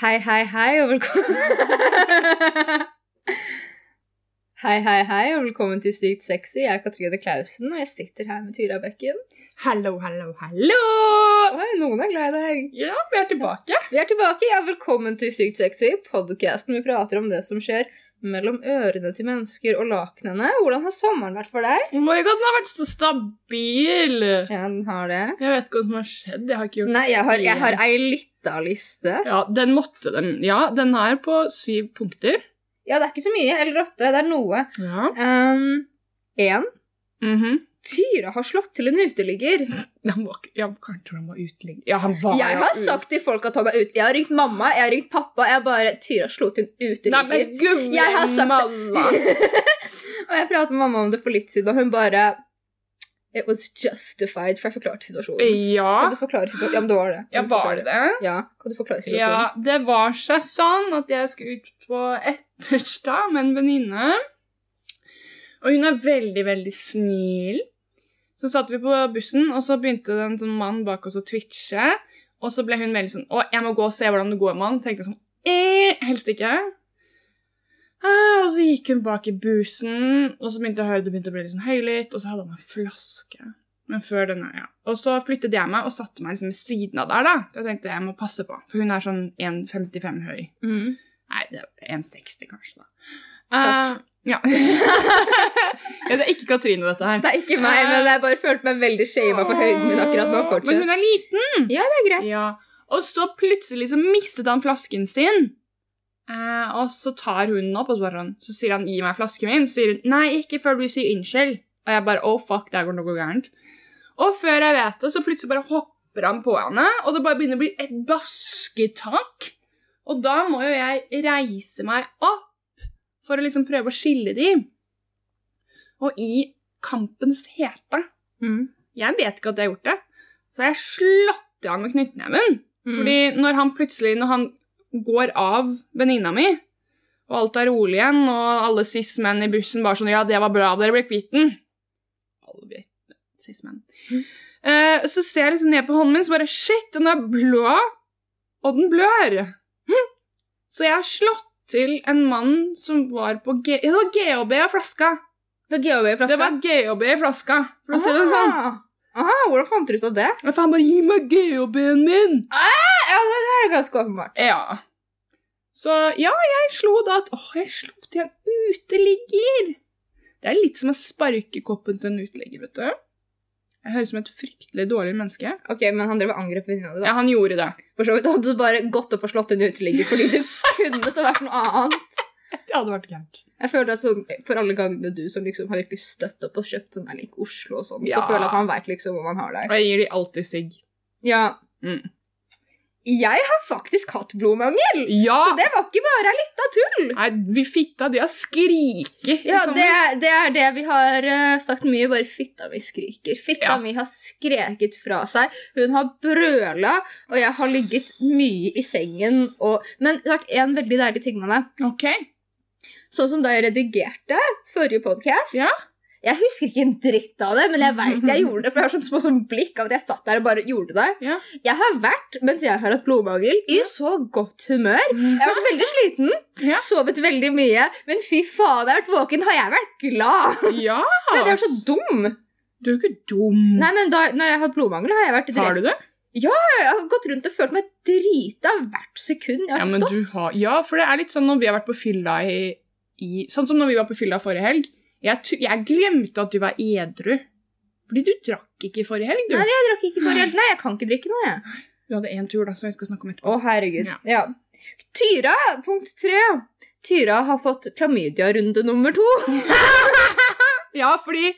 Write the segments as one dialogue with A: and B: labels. A: Hei, hei, hei, og velkommen Hei, hei, hei, og velkommen til Sykt sexy. Jeg er Katrine Klausen, og jeg sitter her med Tyra Bekken.
B: Hallo, hallo, hallo!
A: Oi, noen er glad i deg.
B: Ja, vi er tilbake.
A: Vi er tilbake. Ja, velkommen til Sykt sexy, podkasten vi prater om det som skjer mellom ørene til mennesker og lakenene. Hvordan har sommeren vært for deg?
B: Oh my god, den har vært så stabil! Jeg
A: Ja, den har det.
B: vet ikke hva som har skjedd. Jeg har ikke gjort
A: Nei, jeg har, jeg har ei lita liste.
B: Ja, den måtte den. Ja, den er på syv punkter.
A: Ja, det er ikke så mye. Eller åtte. Det er noe.
B: Ja.
A: Um, en.
B: Mhm.
A: Tyra har slått til en uteligger.
B: Han var ikke Ja, kanskje han var uteligger. Ja, han var
A: Jeg
B: jo
A: har
B: ut-
A: sagt til folk at han er ute. Jeg har ringt mamma, jeg har ringt pappa. Jeg bare Tyra slo til en
B: Nei,
A: uteligger.
B: men gummi
A: Jeg har sagt-
B: malla!
A: og jeg pratet med mamma om det for litt siden, og hun bare It was justified, for jeg forklarte situasjonen. Kan
B: Ja.
A: du forklare situasjonen? Ja, men det var det. Kan
B: ja,
A: du
B: var
A: forklare
B: det det?
A: Ja, kan du forklare situasjonen?
B: Ja, det var seg sånn at jeg skulle ut på etterstad med en venninne. Og hun er veldig, veldig snill. Så satt vi på bussen, og så begynte det en sånn mann bak oss å twitche. Og så ble hun veldig sånn Å, jeg må gå og se hvordan det går med han. Tenkte jeg sånn eh, Helst ikke. Ah, og så gikk hun bak i bussen, og så begynte jeg å høre det begynte å bli litt sånn høylytt, og så hadde han en flaske. Men før denne, ja. Og så flyttet jeg meg og satte meg liksom ved siden av der, da. Så jeg tenkte jeg må passe på, for hun er sånn 1,55 høy.
A: Mm.
B: Nei, det er 1,60 kanskje, da.
A: Takk.
B: Eh, ja. ja. Det er ikke Katrine, dette her.
A: Det er ikke meg, men jeg bare følte meg veldig shama for høyden min akkurat nå. fortsatt.
B: Men hun er liten.
A: det er greit.
B: Ja. Og så plutselig så mistet han flasken sin. Eh, og så tar hun den opp, og så, bare, sånn- så sier han 'gi meg flasken min'. Så sier hun 'nei, ikke før du sier unnskyld'. Og jeg bare 'oh fuck, der går noe gærent'. Og før jeg vet det, så plutselig bare hopper han på henne, og det bare begynner å bli et basketak. Og da må jo jeg reise meg opp for å liksom prøve å skille de. Og i kampens hete
A: Mm.
B: Jeg vet ikke at jeg har gjort det, så jeg slått i han med knyttneven.
A: Fordi
B: Fordi når han plutselig når han går av venninna mi, og alt er rolig igjen, og alle cis-menn i bussen bare sånn Ja, det var bra dere ble kvitt den. Alle ble cis-menn.
A: Mhm.
B: Eh, så ser jeg liksom ned på hånden min, så bare Shit, den er blå, og den blør.
A: Mhm.
B: Hm. Så jeg har slått til en mann som var på G... Ja, det var GHB av flaska.
A: det var GHB i
B: Det
A: flaska.
B: var GHB i flaska, for å si det sånn.
A: Aha, hvordan fant dere ut av det?
B: Og faen bare Gi meg GHB-en min!
A: Ja, men Det er jo ganske åpenbart.
B: Ja. Så ja, jeg slo da at Åh, jeg slo til en uteligger. Det er litt som å sparke koppen til en uteligger, vet du. Jeg høres ut som et fryktelig dårlig menneske.
A: Ok, Men han drev og angrep venninna di, da.
B: Ja, han gjorde det.
A: For så vidt hadde du bare gått opp og slått en uteligger fordi du kunne så vært noe annet.
B: Det hadde vært gærent.
A: Jeg føler at sånn, For alle gangene du som liksom har virkelig støtt opp og kjøpt sånn er lik Oslo og sånn, så
B: Ja.
A: føler jeg at han veit liksom hvor man har deg.
B: Og jeg gir de alltid sigg.
A: Ja.
B: Mm.
A: Jeg har faktisk hatt blodmangel!
B: Ja!
A: Så det var ikke bare litt av tull!
B: Nei, vi fitta, de har skriket.
A: Ja,
B: liksom.
A: det, er- det er det vi har eh, sagt mye, bare fitta mi skriker. Fitta
B: Ja.
A: mi har skreket fra seg, hun har brøla, og jeg har ligget mye i sengen og Men det har vært en veldig deilig ting med det.
B: Ok.
A: Sånn som da jeg redigerte forrige podkast.
B: Ja.
A: Jeg husker ikke en dritt av det, men jeg veit jeg gjorde det. For jeg har sånn små sånn blikk av at jeg satt der og bare gjorde det.
B: Ja.
A: Jeg har vært, mens jeg har hatt blodmangel, i så godt humør. Jeg har vært veldig sliten,
B: Ja.
A: sovet veldig mye, men fy faen, jeg har vært våken. Har jeg vært glad?
B: Ja.
A: For jeg er så dum.
B: Du er jo ikke dum.
A: Nei, men da når jeg har hatt blodmangel, har jeg vært
B: har du det?
A: Jeg har gått rundt og følt meg drita hvert sekund jeg har
B: Ja, men
A: stått.
B: du har, ja, for det er litt sånn når vi har vært på fylla i, i Sånn som når vi var på fylla forrige helg. Jeg, tu- jeg glemte at du var edru. Fordi du drakk ikke forrige helg, du.
A: Nei, Jeg drakk ikke forrige helg. Nei, jeg kan ikke drikke nå, jeg.
B: Du hadde én tur da, som vi skal snakke om etterpå.
A: Å, herregud. Ja.
B: Ja.
A: Tyra, punkt tre. Tyra har fått klamydia-runde nummer to.
B: Ja, fordi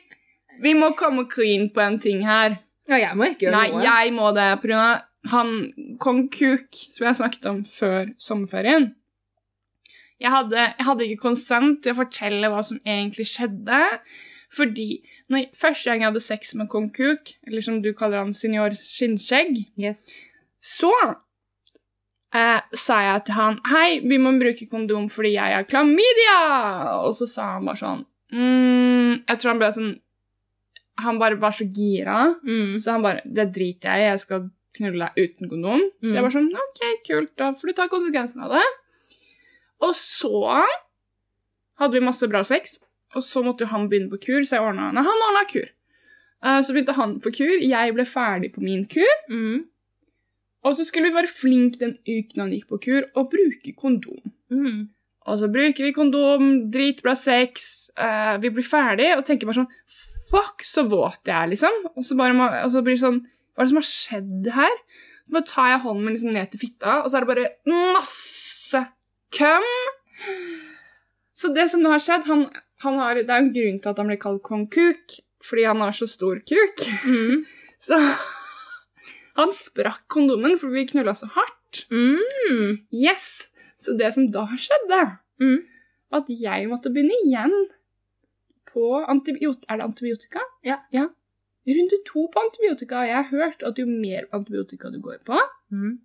B: vi må komme clean på en ting her.
A: Ja, jeg må ikke gjøre
B: Nei,
A: noe.
B: jeg må det på grunn av han kong Kuk, som jeg snakket om før sommerferien. Jeg hadde, jeg hadde ikke konsent til å fortelle hva som egentlig skjedde. Fordi når, første gang jeg hadde sex med kong Kuk, eller som du kaller han, senior skinnskjegg,
A: Yes.
B: så eh, sa jeg til han Hei, vi må bruke kondom fordi jeg har klamydia! Og så sa han bare sånn mm, Jeg tror han ble sånn Han bare var så gira.
A: Mm.
B: Så han bare Det driter jeg i, jeg skal knulle deg uten kondom. Så
A: Mm.
B: jeg var sånn OK, kult, da får du ta konsekvensen av det. Og så hadde vi masse bra sex, og så måtte jo han begynne på kur, så jeg ordna Nei, han ordna kur. Eh, Så begynte han på kur, jeg ble ferdig på min kur,
A: Mm.
B: og så skulle vi være flinke den uken han gikk på kur, og bruke kondom.
A: Mm.
B: Og så bruker vi kondom, dritbra sex, eh, vi blir ferdig, og tenker bare sånn Fuck, så våt jeg er, liksom. Og så, bare, må- og så blir det sånn Hva er det som har skjedd her? Så bare tar jeg hånden min liksom ned til fitta, og så er det bare masse køm. Så det som nå har skjedd han, han har, Det er en grunn til at han blir kalt kong kuk, fordi han har så stor kuk.
A: Mm.
B: Så han sprakk kondomen fordi vi knulla så hardt.
A: Mm.
B: Yes! Så det som da skjedde,
A: Mm.
B: at jeg måtte begynne igjen på antibiotika. Er det antibiotika?
A: Ja.
B: Runde to på antibiotika. Jeg har hørt at jo mer antibiotika du går på,
A: Mm.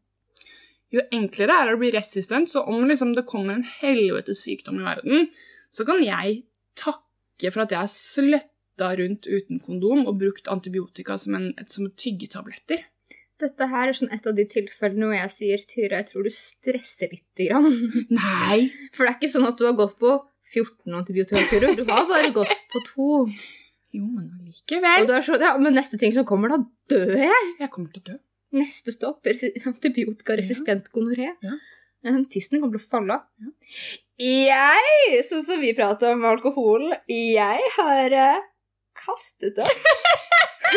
B: jo enklere er det å bli resistent. Så om liksom det kommer en helvetes sykdom i verden, så kan jeg takke for at jeg har sletta rundt uten kondom og brukt antibiotika som, en, som tyggetabletter.
A: Dette her er sånn et av de tilfellene hvor jeg sier Tyra, jeg tror du stresser lite grann.
B: Nei!
A: For det er ikke sånn at du har gått på 14 antibiotikakurer, du har bare gått på to.
B: Jo, men
A: Og
B: allikevel.
A: du er sånn, ja, men neste ting som kommer, da dør jeg.
B: Jeg kommer til å dø.
A: Neste stopp, resi- antibiotikaresistent gonoré.
B: Ja.
A: Eh, Tissen kommer til å falle av. Jeg, sånn som vi prater om alkohol, jeg har eh, kastet opp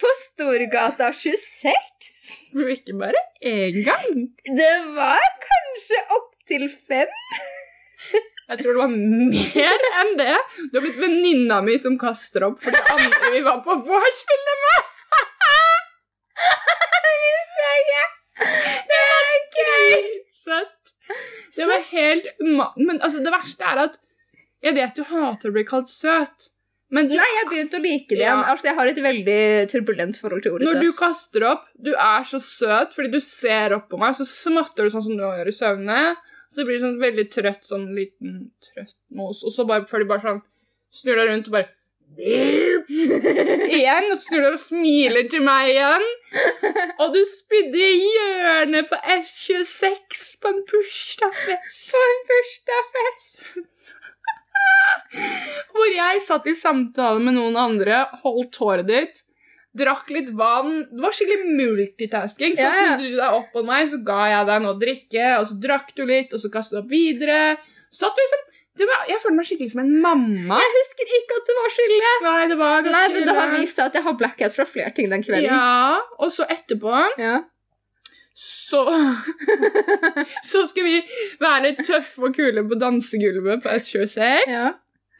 A: på Storgata 26.
B: For ikke bare én gang.
A: Det var kanskje opptil fem.
B: Jeg tror det var mer enn det. Du har blitt venninna mi som kaster opp for det andre vi var på vorspiel
A: Det var gøy!
B: søtt. Det var helt ma Men altså, det verste er at jeg vet du hater å bli kalt søt, men du,
A: Nei, jeg begynte å like det.
B: Ja.
A: Altså, Jeg har et veldig turbulent forhold til ordet
B: når du
A: søt.
B: kaster opp Du er så søt fordi du ser opp på meg, så smatter du sånn som du gjør i søvne. Så blir du sånn veldig trøtt, sånn liten trøtt mos, og så bare, før de bare sånn snur deg rundt og bare igjen, og snur deg og smiler til meg igjen. Og du spydde i hjørnet på S26 på en bursdagsfest.
A: På en bursdagsfest!
B: Hvor jeg satt i samtale med noen andre, holdt håret ditt, drakk litt vann. Det var skikkelig multitasking. Så
A: Ja, ja.
B: snudde du deg opp på meg, så ga jeg deg noe å drikke, og så drakk du litt, og så kastet du opp videre. Satt liksom, det var, jeg følte meg skikkelig som en mamma.
A: Jeg husker ikke at det var skyldig.
B: Nei, det var ganske
A: Nei, men det har
B: ille.
A: vist seg at jeg har blackout fra flere ting den kvelden.
B: Ja, og så etterpå
A: Ja.
B: så Så skal vi være litt tøffe og kule på dansegulvet på S26.
A: Ja.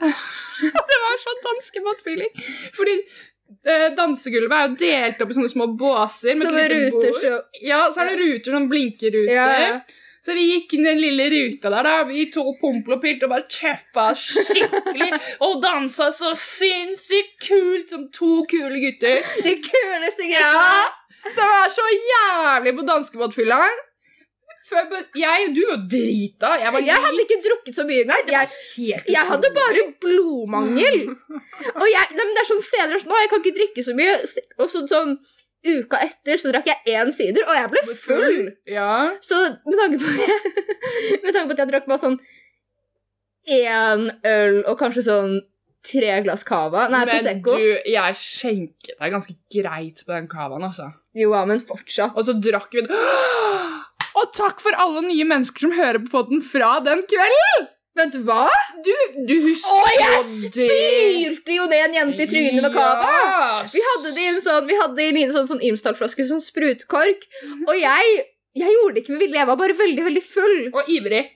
B: Det var sånn danskebåtfeeling. Fordi eh, dansegulvet er jo delt opp i sånne små båser. med et
A: Så med
B: lite
A: ruter
B: bord.
A: så
B: Ja, så er det ruter, sånn blinkeruter.
A: ja, ja.
B: Så vi gikk inn i den lille ruta der, da. Vi to pomplopilt og bare tjeffa skikkelig. Og dansa så sinnssykt kult som to kule gutter.
A: De kuleste
B: Ja! Så jeg var så jævlig på danskebåtfylla. Før bør- Jeg du var drita. Jeg var
A: Jeg hadde ikke drukket så mye engang. Jeg,
B: helt
A: jeg hadde bare blodmangel. Og jeg, nei, men det er sånn senere sånn, «Å, Jeg kan ikke drikke så mye. Og så, sånn uka etter så drakk jeg én sider, og jeg ble full.
B: Ja.
A: Så med tanke på, med tanke på at jeg drakk bare sånn én øl og kanskje sånn tre glass cava Nei,
B: men
A: Prosecco.
B: du, jeg skjenket deg ganske greit på den cavaen, altså.
A: Jo, ja, men fortsatt.
B: Og så drakk vi Og takk for alle nye mennesker som hører på podden fra den kvelden!
A: Vent, hva?
B: Du, du husker
A: Å, jeg
B: jo
A: Bylte jo ned en jente i trynet med cava!
B: Ja.
A: Vi hadde det i en sånn, vi hadde i en liten sånn, sånn Imsdal-flaske, sånn sprutkork. Og jeg, jeg gjorde det ikke med vilje, jeg var bare veldig, veldig full.
B: Og ivrig.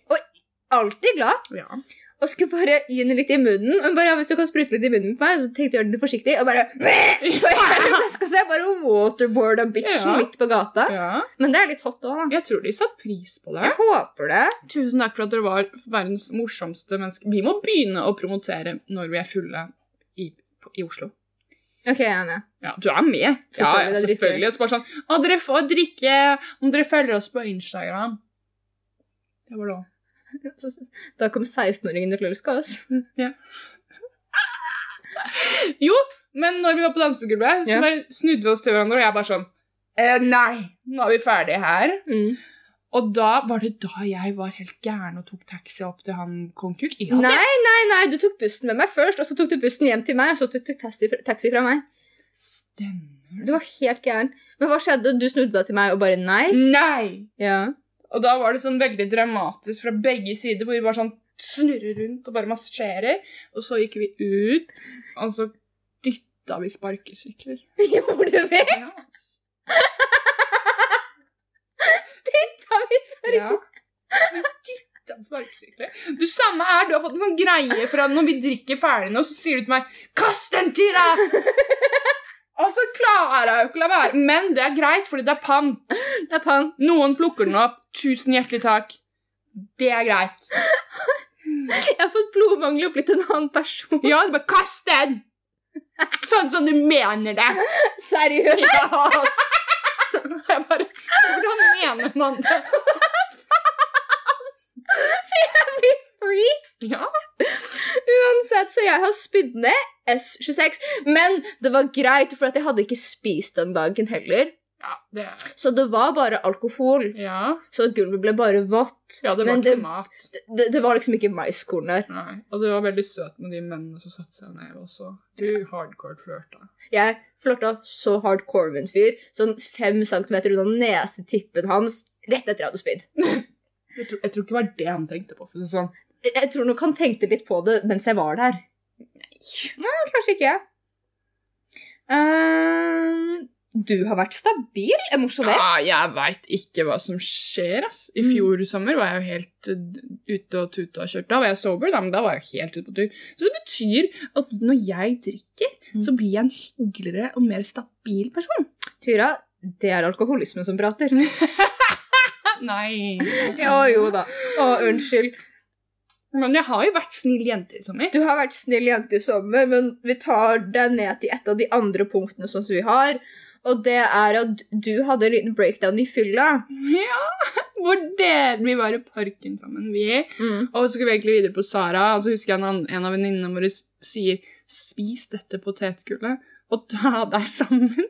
A: Alltid glad.
B: Ja.
A: og skulle bare gi henne litt i munnen. Og hun bare, ja, hvis du kan sprute litt i munnen på meg, så tenkte jeg å gjøre det forsiktig, og bare på hele flaska, så jeg bare waterboarda bitchen
B: Ja.
A: midt på gata.
B: ja.
A: Men det er litt hot òg, da.
B: Jeg tror de satte pris på det.
A: Jeg håper det.
B: Tusen takk for at dere var verdens morsomste mennesker. Vi må begynne å promotere når vi er fulle i, på, i Oslo.
A: Ok, jeg er med.
B: Ja, du er med. Ja,
A: Selvfølgelig,
B: ja,
A: det er drittgøy.
B: selvfølgelig. Og så bare sånn Å, dere får drikke om dere følger oss på Instagram. Det var det òg.
A: Så, da kom 16-åringen til å elske oss.
B: Men når vi var på dansegulvet,
A: Ja.
B: så bare snudde vi oss til hverandre, og jeg bare sånn Eh, nei, nå er vi ferdige her.
A: Mm.
B: Og da var det da jeg var helt gæren og tok taxi opp til han kong Kuk. Jeg hadde
A: Nei, nei, nei, du tok bussen med meg først, og så tok du bussen hjem til meg, og så tok du taxi, taxi fra meg.
B: Stemmer
A: Du var helt gæren. Men hva skjedde? Du snudde deg til meg og bare
B: Mm.
A: nei?
B: Nei!
A: Ja.
B: Og da var det sånn veldig dramatisk fra begge sider, hvor vi bare sånn snurrer rundt og bare marsjerer. Og så gikk vi ut, og så dytta vi sparkesykler.
A: Gjorde vi?
B: Ja.
A: Da vi
B: ja. Vi dytta sparkesykler. Du, samme her, du har fått en sånn greie fra når vi drikker ferdig nå, så sier du til meg 'Kast den til deg!' Og så klarer jeg jo ikke å la være. Men det er greit, fordi det er pant.
A: Det er pang.
B: Noen plukker den opp. Tusen hjertelig takk. Det er greit.
A: Jeg har fått blodmangel og blitt en annen person.
B: Ja, du bare kast den! Sånn som du mener det.
A: Seriøst?
B: Ja, ass. Jeg bare Hvordan mener man det?
A: Free.
B: Ja.
A: Uansett, så jeg har spydd ned S26. Men det var greit, for at jeg hadde ikke spist den dagen heller.
B: Ja, det
A: Så det var bare alkohol.
B: Ja,
A: Så gulvet ble bare vått.
B: ja det var
A: Men
B: ikke
A: det-
B: mat.
A: Det, det var liksom ikke maiskorn der.
B: Nei. Og det var veldig søt med de mennene som satte seg ned også. Du hardcore flørta.
A: Jeg flørta så hardcore med en fyr, sånn fem centimeter unna nesetippen hans, rett etter jeg hadde spydd.
B: Jeg, tror- jeg tror ikke det var det han tenkte på. for å si det Sånn.
A: Jeg- Jeg tror nok han tenkte litt på det mens jeg var der.
B: sånn.
A: Nei, kanskje ikke jeg. Eh, du har vært stabil emosjonelt.
B: Ja, Ah, jeg veit ikke hva som skjer, ass. I
A: Mm.
B: fjor sommer var jeg jo helt uh, ute og tuta og kjørte. Da var jeg sober, da, men da var jeg jo helt ute på tur. Så det betyr at når jeg drikker,
A: Mm.
B: så blir jeg en hyggeligere og mer stabil person.
A: Tyra, det er alkoholismen som prater. Ah,
B: Nei.
A: Jo, jo da. Å, unnskyld.
B: Men jeg har jo vært snill jente i sommer.
A: Du har vært snill jente i sommer, men vi tar deg ned til et av de andre punktene som vi har. Og det er at du hadde en liten breakdown i fylla.
B: Ja, hvor det, vi var i parken sammen, vi. Og så skulle vi egentlig videre på Sara, og så husker jeg en, an- en av venninnene våre s- sier 'spis dette potetgullet og ta deg sammen'.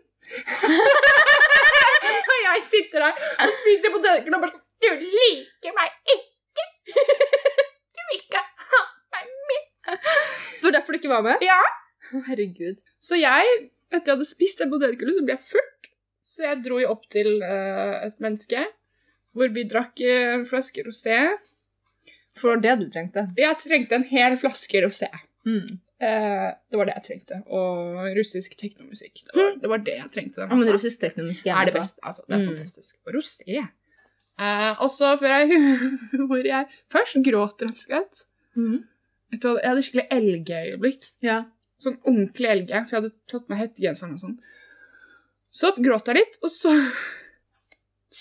B: og jeg sitter der og spiser potetgull og bare sånn 'Du liker meg ikke! Du vil ikke ha meg
A: Det var derfor du ikke var med?
B: Ja.
A: Å, Herregud.
B: Så jeg, etter jeg hadde spist det potetgullet, så ble jeg full. Så jeg dro jo opp til eh, et menneske, hvor vi drakk eh, en flaske rosé.
A: For det du trengte.
B: Jeg trengte en hel flaske rosé.
A: Mm.
B: Eh, det var det jeg trengte. Og russisk teknomusikk. Det var det, var det jeg trengte. den
A: Hmm. Ja, men
B: natta.
A: russisk teknomisk
B: er det beste. Altså, det er
A: Mm.
B: fantastisk. Og rosé. Eh, og så før jeg Hvor jeg først gråt, rett og slett. Mhm. Vet du hva, Jeg hadde skikkelig elgeøyeblikk.
A: Ja.
B: Sånn ordentlig elge. For jeg hadde tatt med hettegenseren og sånn. Så gråt jeg litt, og så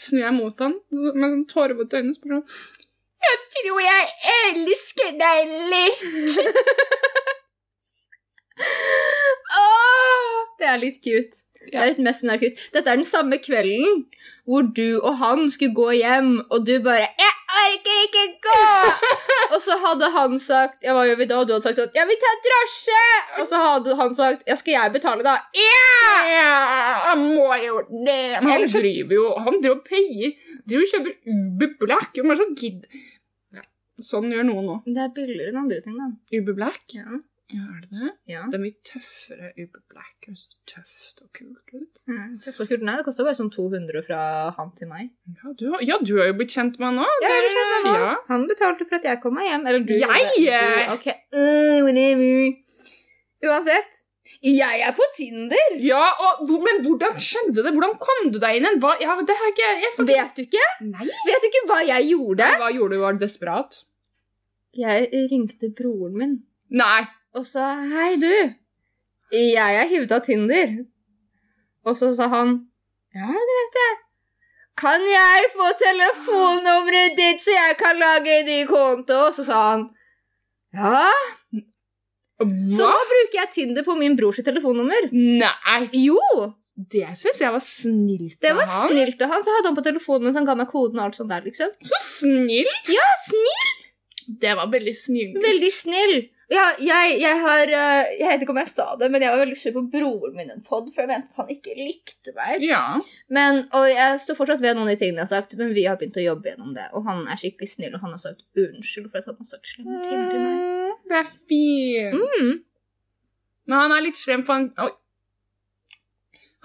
B: snur jeg mot han så- med sånn tårevåte øyne og spør sånn Jeg tror jeg elsker deg litt.
A: Åh, det er litt cute. Det
B: Ah! Ja.
A: er litt mest, men det er cute. Dette er den samme kvelden hvor du og han skulle gå hjem, og du bare 'Jeg orker ikke gå!' og så hadde han sagt ja, 'Hva gjør vi da?' Og du hadde sagt sånn 'Ja, vi tar drosje!' Og så hadde han sagt 'Ja, skal jeg betale, da?'
B: Ja,
A: Ah,
B: Han må jo det. Men han driver jo Han driver og peier. Driver og kjøper Uber Black. Hvem er det som gidder ja. Sånn gjør noen nå.
A: Det er billigere enn andre ting, da.
B: Uber Black?
A: Ja.
B: Ja, er det det?
A: ja.
B: Det er mye tøffere Uber Black. Det høres tøft og kult ut.
A: Mm, så kult. Nei, det kosta bare sånn 200 fra han til meg.
B: Ja, du har, ja, du har jo blitt kjent med han nå.
A: Ja, jeg
B: Det er- ja.
A: Han betalte for at jeg kom meg hjem. Eller du.
B: Jeg?
A: gjorde det. Du, ok. Uh, whatever. Uansett. Jeg er på Tinder!
B: Ja, og, hvor- men hvordan skjedde det? Hvordan kom du deg inn igjen? Hva? Ja, det har jeg ikke jeg, får-
A: Vet du ikke?
B: Nei.
A: Vet du ikke hva jeg gjorde?
B: Hva gjorde du? Var du desperat?
A: Jeg ringte broren min
B: Nei.
A: og sa hei, du. Jeg er hivd av Tinder. Og så sa han ja, det vet jeg. Kan jeg få telefonnummeret ditt, så jeg kan lage en ny konto? Og så sa han ja. Så
B: Hva?
A: nå bruker jeg Tinder på min brors telefonnummer.
B: Nei.
A: Jo!
B: Det syns jeg var snilt
A: Det
B: av
A: var
B: han.
A: snilt av han, så hadde han på telefonen mens han ga meg koden og alt sånt der, liksom.
B: Så snill!
A: Ja, snill!
B: Det var veldig snill.
A: Veldig snill. Ja, jeg, jeg har eh, Jeg vet ikke om jeg sa det, men jeg var veldig sur på broren min en pod, for jeg mente at han ikke likte meg.
B: Ja.
A: Men, og jeg står fortsatt ved noen av de tingene jeg har sagt, men vi har begynt å jobbe gjennom det. Og han er skikkelig snill, og han har sagt unnskyld for at han har sagt slemme ting til meg.
B: Mm, Det er fint.
A: Mm.
B: Men han er litt slem, for han Oi.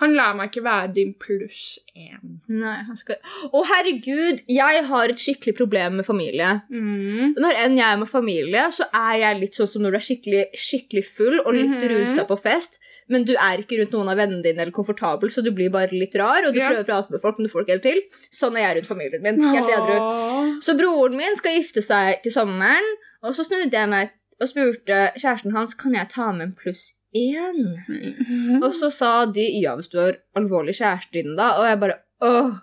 B: Han lar meg ikke være din pluss én.
A: Nei, han skal Å, herregud! Jeg har et skikkelig problem med familie.
B: Mm.
A: Når enn jeg er med familie, så er jeg litt sånn som når du er skikkelig, skikkelig full og litt
B: Mhm.
A: rusa på fest, men du er ikke rundt noen av vennene dine eller komfortabel, så du blir bare litt rar, og du
B: Ja.
A: prøver å prate med folk, men du får det ikke helt til. Sånn er jeg rundt familien min. Helt edru.
B: Åh.
A: Så broren min skal gifte seg til sommeren, og så snudde jeg meg og spurte kjæresten hans kan jeg ta med en pluss én.
B: Mm.
A: Og så sa de ja, hvis du har alvorlig kjæreste i den, da, og jeg bare åh.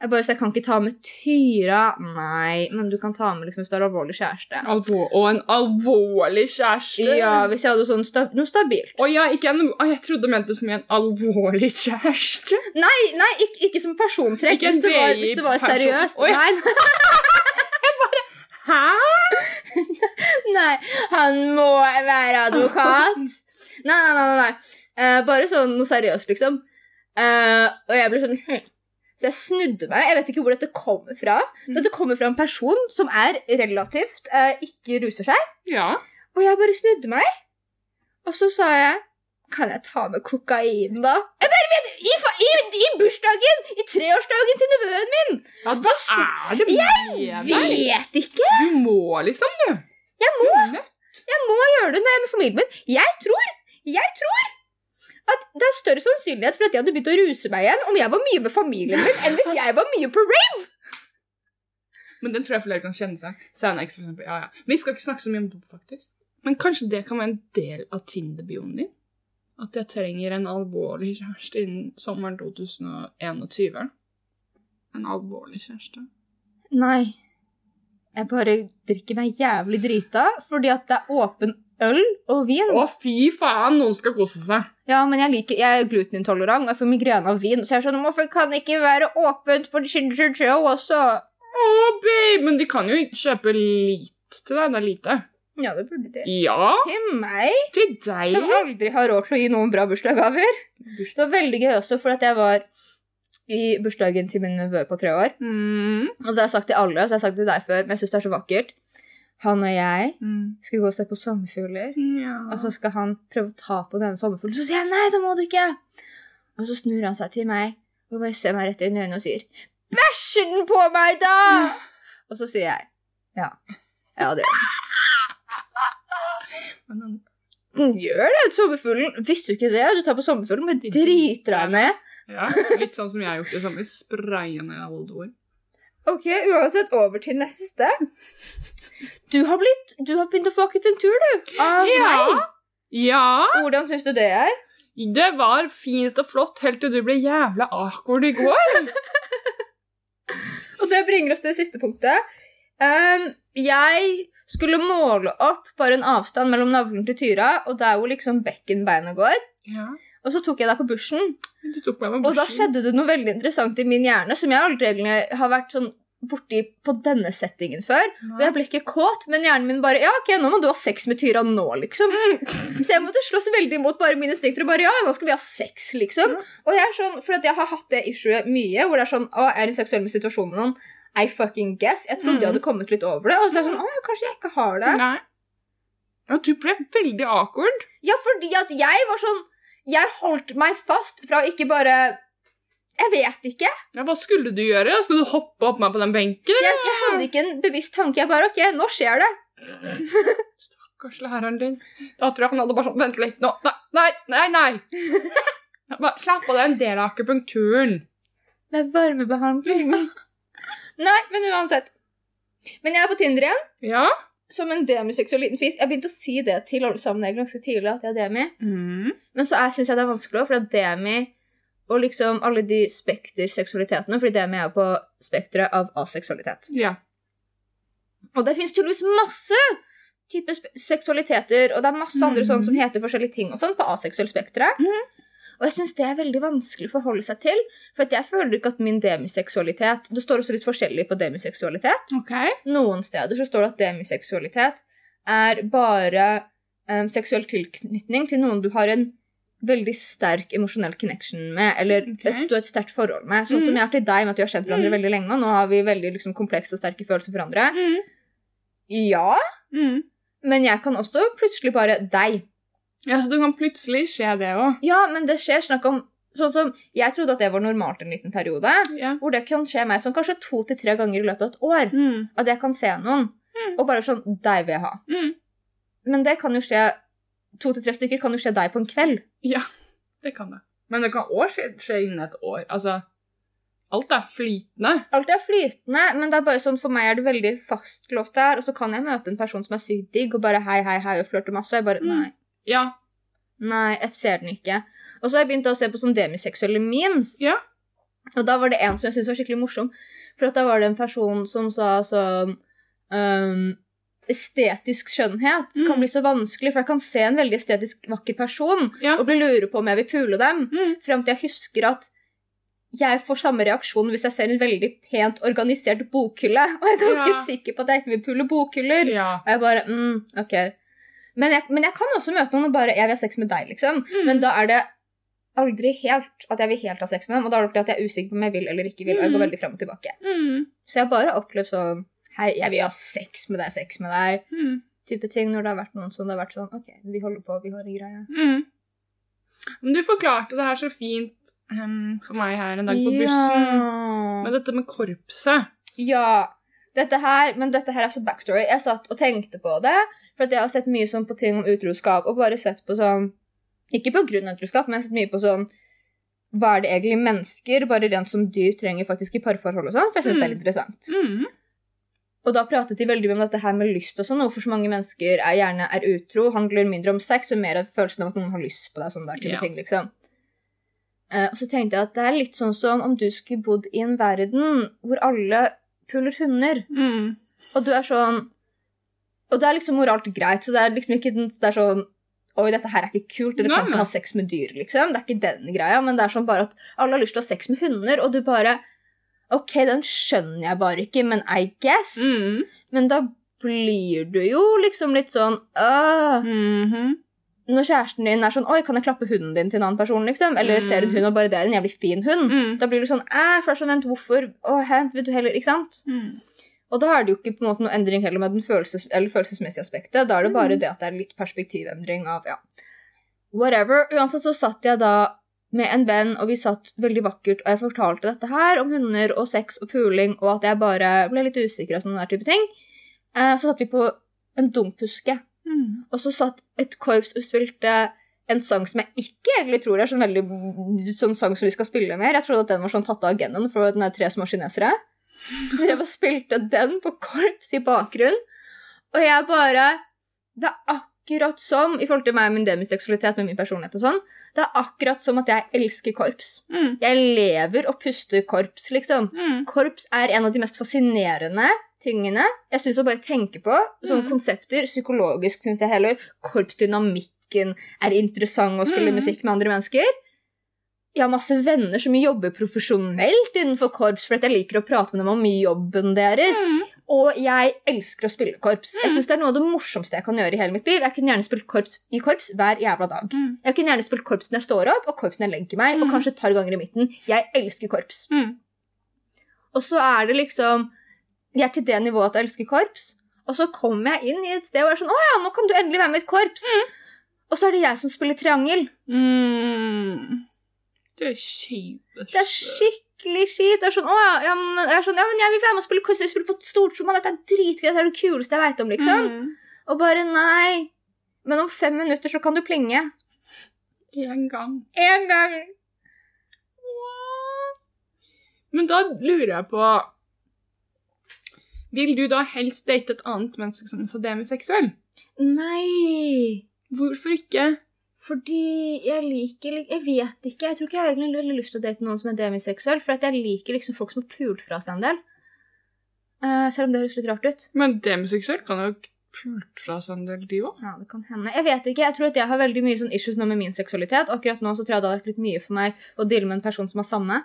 A: Jeg bare, så jeg kan ikke ta med Tyra. Nei, men du kan ta med liksom, hvis du har alvorlig kjæreste.
B: Alvor, og en alvorlig kjæreste.
A: Ja, hvis jeg hadde sånn sta noe stabilt.
B: Å ja, ikke en, å, jeg trodde du mente som i en alvorlig kjæreste.
A: Nei, nei ikke, ikke som persontrekk.
B: Ikke en
A: Hvis det var,
B: baby
A: hvis det var
B: person.
A: seriøst.
B: Oi.
A: Nei,
B: Hæ?
A: nei, han må være advokat. Nei, nei, nei. nei, nei. Eh, bare sånn noe seriøst, liksom. Eh, og jeg ble sånn hm. Så jeg snudde meg. Jeg vet ikke hvor dette kommer fra.
B: Mm.
A: Dette kommer fra en person som er relativt eh, ikke ruser seg.
B: Ja.
A: Og jeg bare snudde meg, og så sa jeg Kan jeg ta med kokain, da? Jeg bare vet, i, fa- i, I bursdagen! I treårsdagen til nevøen min! Hva
B: ja hva
A: så-
B: er det med deg?
A: Vet ikke!
B: Du må liksom, du.
A: Jeg
B: må. Du er nødt.
A: Jeg må gjøre det når jeg er med familien min. Jeg tror jeg tror at det er større sannsynlighet for at jeg hadde begynt å ruse meg igjen om jeg var mye med familien min, enn hvis jeg var mye på rave.
B: Men den tror jeg flere kan kjenne seg. Sanex, for eksempel. Ja, ja. Vi skal ikke snakke så mye om dop, faktisk. Men kanskje det kan være en del av Tinder-bioen din? At jeg trenger en alvorlig kjæreste innen sommeren 2021? En alvorlig kjæreste?
A: Nei. Jeg bare drikker meg jævlig drita fordi at det er åpen øl og vin.
B: Å, fy faen! Noen skal kose seg.
A: Ja, men jeg, liker, jeg er glutenintolerant, og jeg får migrene av vin. Så jeg er sånn, hvorfor kan det ikke være åpent på Ginger Joe også?
B: Å, babe! Men de kan jo kjøpe litt til deg. Det er lite.
A: Ja, det burde de.
B: Ja,
A: Til meg,
B: til deg.
A: som aldri har råd til å gi noen bra bursdagsgaver. Det var veldig gøy også, for at jeg var i bursdagen til min nevø på tre år.
B: Mm.
A: Og det har jeg sagt til alle, så jeg har sagt det til deg før, men jeg synes det er så vakkert. Han og jeg skal gå og se på sommerfugler.
B: mm. Ja.
A: Og så skal han prøve å ta på denne sommerfuglen. Så sier jeg nei, det må du ikke. Og så snur han seg til meg og bare ser meg rett inn i øynene og sier Bæsjer den på meg, da?! Og så sier jeg ja. Ja, det gjør den.
B: Men-
A: den. Gjør det, sommerfuglen. Visste du ikke det? Du tar på sommerfuglen, men driter deg ned.
B: Ja, litt sånn som jeg har gjort det samme. Spraya ned oldord.
A: Ok, uansett, over til neste. Du har blitt Du har begyint å få akupunktur, du. Av meg.
B: Ja.
A: Hvordan syns du det er?
B: Det var fint og flott helt til du ble jævla awkward i går.
A: Og det bringer oss til det siste punktet. Ehm, jeg skulle måle opp bare en avstand mellom navlen til Tyra og der hvor liksom bekkenbeinet går.
B: Ja.
A: Og så tok jeg deg på bushen,
B: Du tok meg med
A: og da
B: bussen.
A: skjedde det noe veldig interessant i min hjerne som jeg aldri egentlig har vært sånn borti på denne settingen før. Og jeg ble ikke kåt, men hjernen min bare Ja, ok, nå må du ha sex med Tyra nå, liksom. Så jeg måtte slåss veldig imot bare mine instinkter og bare Ja, nå skal vi ha sex, liksom. Og jeg er sånn, For at jeg har hatt det issuet mye, hvor det er sånn Å, jeg er i en seksuell situasjon med noen. I fucking guess. Jeg trodde jeg
B: Mm.
A: hadde kommet litt over det. Og så er jeg sånn Å, kanskje jeg ikke har det.
B: Nei. Ja, du ble veldig awkward.
A: Ja, fordi at jeg var sånn Jeg holdt meg fast fra å ikke bare Jeg vet ikke.
B: Ja, hva skulle du gjøre? Skulle du hoppe opp meg på den benken?
A: Jeg, jeg hadde ikke en bevisst tanke. Jeg bare OK, nå skjer det.
B: Stakkars læreren din. Da tror jeg han hadde bare sånn Vent litt nå. Nei, nei, nei. nei. Jeg Bare, slapp av, det er en del av akupunkturen.
A: Det er varmebehandling. Nei, men uansett. Men jeg er på Tinder igjen,
B: Ja.
A: som en demiseksuell liten fis. Jeg begynte å si det til alle sammen egentlig ganske tidlig, at jeg er demi. Men så syns jeg det er vanskelig også, for at demi og liksom alle de spekterseksualitetene Fordi demi er jo på spekteret av aseksualitet.
B: Ja.
A: Og det fins tydeligvis masse typer spe- seksualiteter, og det er masse andre
B: Mhm.
A: sånn som heter forskjellige ting og sånn på aseksuelt spekteret.
B: Mhm.
A: Og jeg syns det er veldig vanskelig å forholde seg til, for at jeg føler ikke at min demiseksualitet Det står også litt forskjellig på demiseksualitet.
B: OK.
A: Noen steder så står det at demiseksualitet er bare eh, seksuell tilknytning til noen du har en veldig sterk emosjonell connection med, eller
B: Ok.
A: et, du har et sterkt forhold med. Sånn som
B: Mm.
A: jeg har til deg, med at vi har kjent hverandre
B: Mm.
A: veldig lenge, og nå har vi veldig liksom, komplekse og sterke følelser for hverandre.
B: Mm.
A: Ja,
B: Mm.
A: men jeg kan også plutselig bare deg.
B: Ja, så det kan plutselig skje det òg.
A: Ja, men det skjer snakk om Sånn som Jeg trodde at det var normalt en liten periode.
B: Ja.
A: Hvor det kan skje meg sånn kanskje to til tre ganger i løpet av et år.
B: Mm.
A: At jeg kan se noen.
B: Mm.
A: Og bare sånn Deg vil jeg ha.
B: Mm.
A: Men det kan jo skje To til tre stykker kan jo skje deg på en kveld.
B: Det kan det. Men det kan òg skje, skje innen et år. Altså, alt er flytende.
A: Alt er flytende, men det er bare sånn, for meg er det veldig fastlåst der. Og så kan jeg møte en person som er sykt digg, og bare hei, hei, hei, og flørte masse. Og jeg bare
B: Mm.
A: nei,
B: Ja.
A: nei, jeg ser den ikke. Og så har jeg begynt å se på sånn demiseksuelle memes.
B: Ja.
A: Og da var det en som jeg syntes var skikkelig morsom. For at da var det en person som sa sånn ehm, Estetisk skjønnhet
B: Mm.
A: kan bli så vanskelig, for jeg kan se en veldig estetisk vakker person
B: Ja.
A: og bli lure på om jeg vil pule dem.
B: Mm.
A: Frem til jeg husker at jeg får samme reaksjon hvis jeg ser en veldig pent organisert bokhylle. Og jeg er ganske
B: Ja.
A: sikker på at jeg ikke vil pulle bokhyller.
B: ja.
A: Og jeg bare, mm, ok. Men jeg, men jeg kan også møte noen og bare Jeg vil ha sex med deg, liksom.
B: Mm.
A: Men da er det aldri helt at jeg vil helt ha sex med dem. Og da er det alltid at jeg er usikker på om jeg vil eller ikke vil. Og jeg går
B: Mm.
A: veldig frem og tilbake.
B: mm.
A: Så jeg har bare opplevd sånn Hei, jeg vil ha sex med deg, sex med deg.
B: Mm.
A: Type ting når det har vært noen som det har vært sånn OK, vi holder på, vi har en greie.
B: Mm. Men du forklarte det her så fint ehm, for meg her en dag på bussen.
A: Ja.
B: Med dette med korpset.
A: Ja. Dette her, men dette her er så backstory. Jeg satt og tenkte på det. For at jeg har sett mye sånn på ting om utroskap, og bare sett på sånn Ikke på grunn av utroskap, men jeg har sett mye på sånn Hva er det egentlig mennesker, bare rent som dyr, trenger faktisk i parforhold og sånn? For jeg syns det er litt
B: Mm.
A: interessant.
B: Mm.
A: Og da pratet de veldig mye om dette her med lyst og sånn, hvorfor så mange mennesker er, gjerne er utro, handler mindre om sex og mer av følelsen av at noen har lyst på deg, sånn der type
B: Ja.
A: ting, liksom. Eh, og så tenkte jeg at det er litt sånn som om du skulle bodd i en verden hvor alle puler hunder.
B: Mm.
A: Og du er sånn Og det er liksom moralt greit, så det er liksom ikke den, det er sånn Oi, dette her er ikke kult. Dere
B: Nei,
A: kan ikke
B: nei.
A: ha sex med dyr, liksom. Det er ikke den greia, men det er sånn bare at alle har lyst til å ha sex med hunder, og du bare OK, den skjønner jeg bare ikke, men I guess.
B: Mm.
A: Men da blir du jo liksom litt sånn «Åh».
B: Mhm.
A: Når kjæresten din er sånn Oi, kan jeg klappe hunden din til en annen person, liksom? Eller ser en
B: Mm.
A: hund og bare det er en jævlig fin hund.
B: Mm.
A: Da blir du sånn Æh, for det er sånn, vent, hvorfor? Å, hent, vil du heller Ikke sant?
B: Mm.
A: Og da er det jo ikke på en måte noe endring heller med den følelses eller følelsesmessige aspektet. Da er det bare
B: Mm.
A: det at det er litt perspektivendring av ja, whatever. Uansett så satt jeg da med en venn, og vi satt veldig vakkert, og jeg fortalte dette her om hunder og sex og puling, og at jeg bare ble litt usikker og sånne der type ting. Eh, Så satt vi på en dumphuske,
B: Mm.
A: og så satt et korps og spilte en sang som jeg ikke egentlig tror er sånn veldig sånn sang som vi skal spille mer. Jeg trodde at den var sånn tatt av agendaen for den er tre små kinesere. De drev og spilte den på korps i bakgrunnen. Og jeg bare Det er akkurat som, i forhold til meg og min demiseksualitet med min personlighet og sånn, det er akkurat som at jeg elsker korps.
B: Mm.
A: Jeg lever og puster korps, liksom.
B: Mm.
A: Korps er en av de mest fascinerende tingene jeg synes å bare tenke på. Sånne
B: Mm.
A: konsepter. Psykologisk syns jeg heller. Korpsdynamikken er interessant å spille
B: Mm.
A: musikk med andre mennesker. Jeg har masse venner som jobber profesjonelt innenfor korps, for at jeg liker å prate med dem om jobben deres.
B: Mm.
A: Og jeg elsker å spille korps. Jeg
B: Mm.
A: syns det er noe av det morsomste jeg kan gjøre i hele mitt liv. Jeg kunne gjerne spilt korps i korps hver jævla dag.
B: Mm.
A: Jeg kunne gjerne spilt korps når jeg står opp, og korps når jeg legger meg, og
B: Mm.
A: kanskje et par ganger i midten. Jeg elsker korps.
B: Mm.
A: Og så er det liksom Jeg er til det nivået at jeg elsker korps. Og så kommer jeg inn i et sted og er sånn Å ja, nå kan du endelig være med i et korps. Og så er det jeg som spiller triangel.
B: Mm. Du er kjip.
A: Det er skikkelig kjipt. Jeg er sånn Å ja, ja, men, jeg er sånn, ja, men jeg vil være med og spille korps. Jeg vil spille på et stort som, og Dette er dritgøy. Dette er det kuleste jeg veit om, liksom.
B: Mm.
A: Og bare nei. Men om fem minutter så kan du plinge.
B: En gang.
A: Én gang.
B: Men da lurer jeg på Vil du da helst date et annet menneske som også er demiseksuell?
A: Nei.
B: Hvorfor ikke?
A: Fordi jeg liker lik- Jeg vet ikke. Jeg tror ikke jeg har egentlig veldig lyst til å date noen som er demiseksuell, for at jeg liker liksom folk som har pult fra seg en del. Eh, selv om det høres litt rart ut.
B: Men demiseksuell kan jo pult fra seg en del, de òg.
A: Ja, det kan hende. Jeg vet ikke. Jeg tror at jeg har veldig mye sånn issues nå med min seksualitet. Akkurat nå så tror jeg det har vært litt mye for meg å deale med en person som har samme.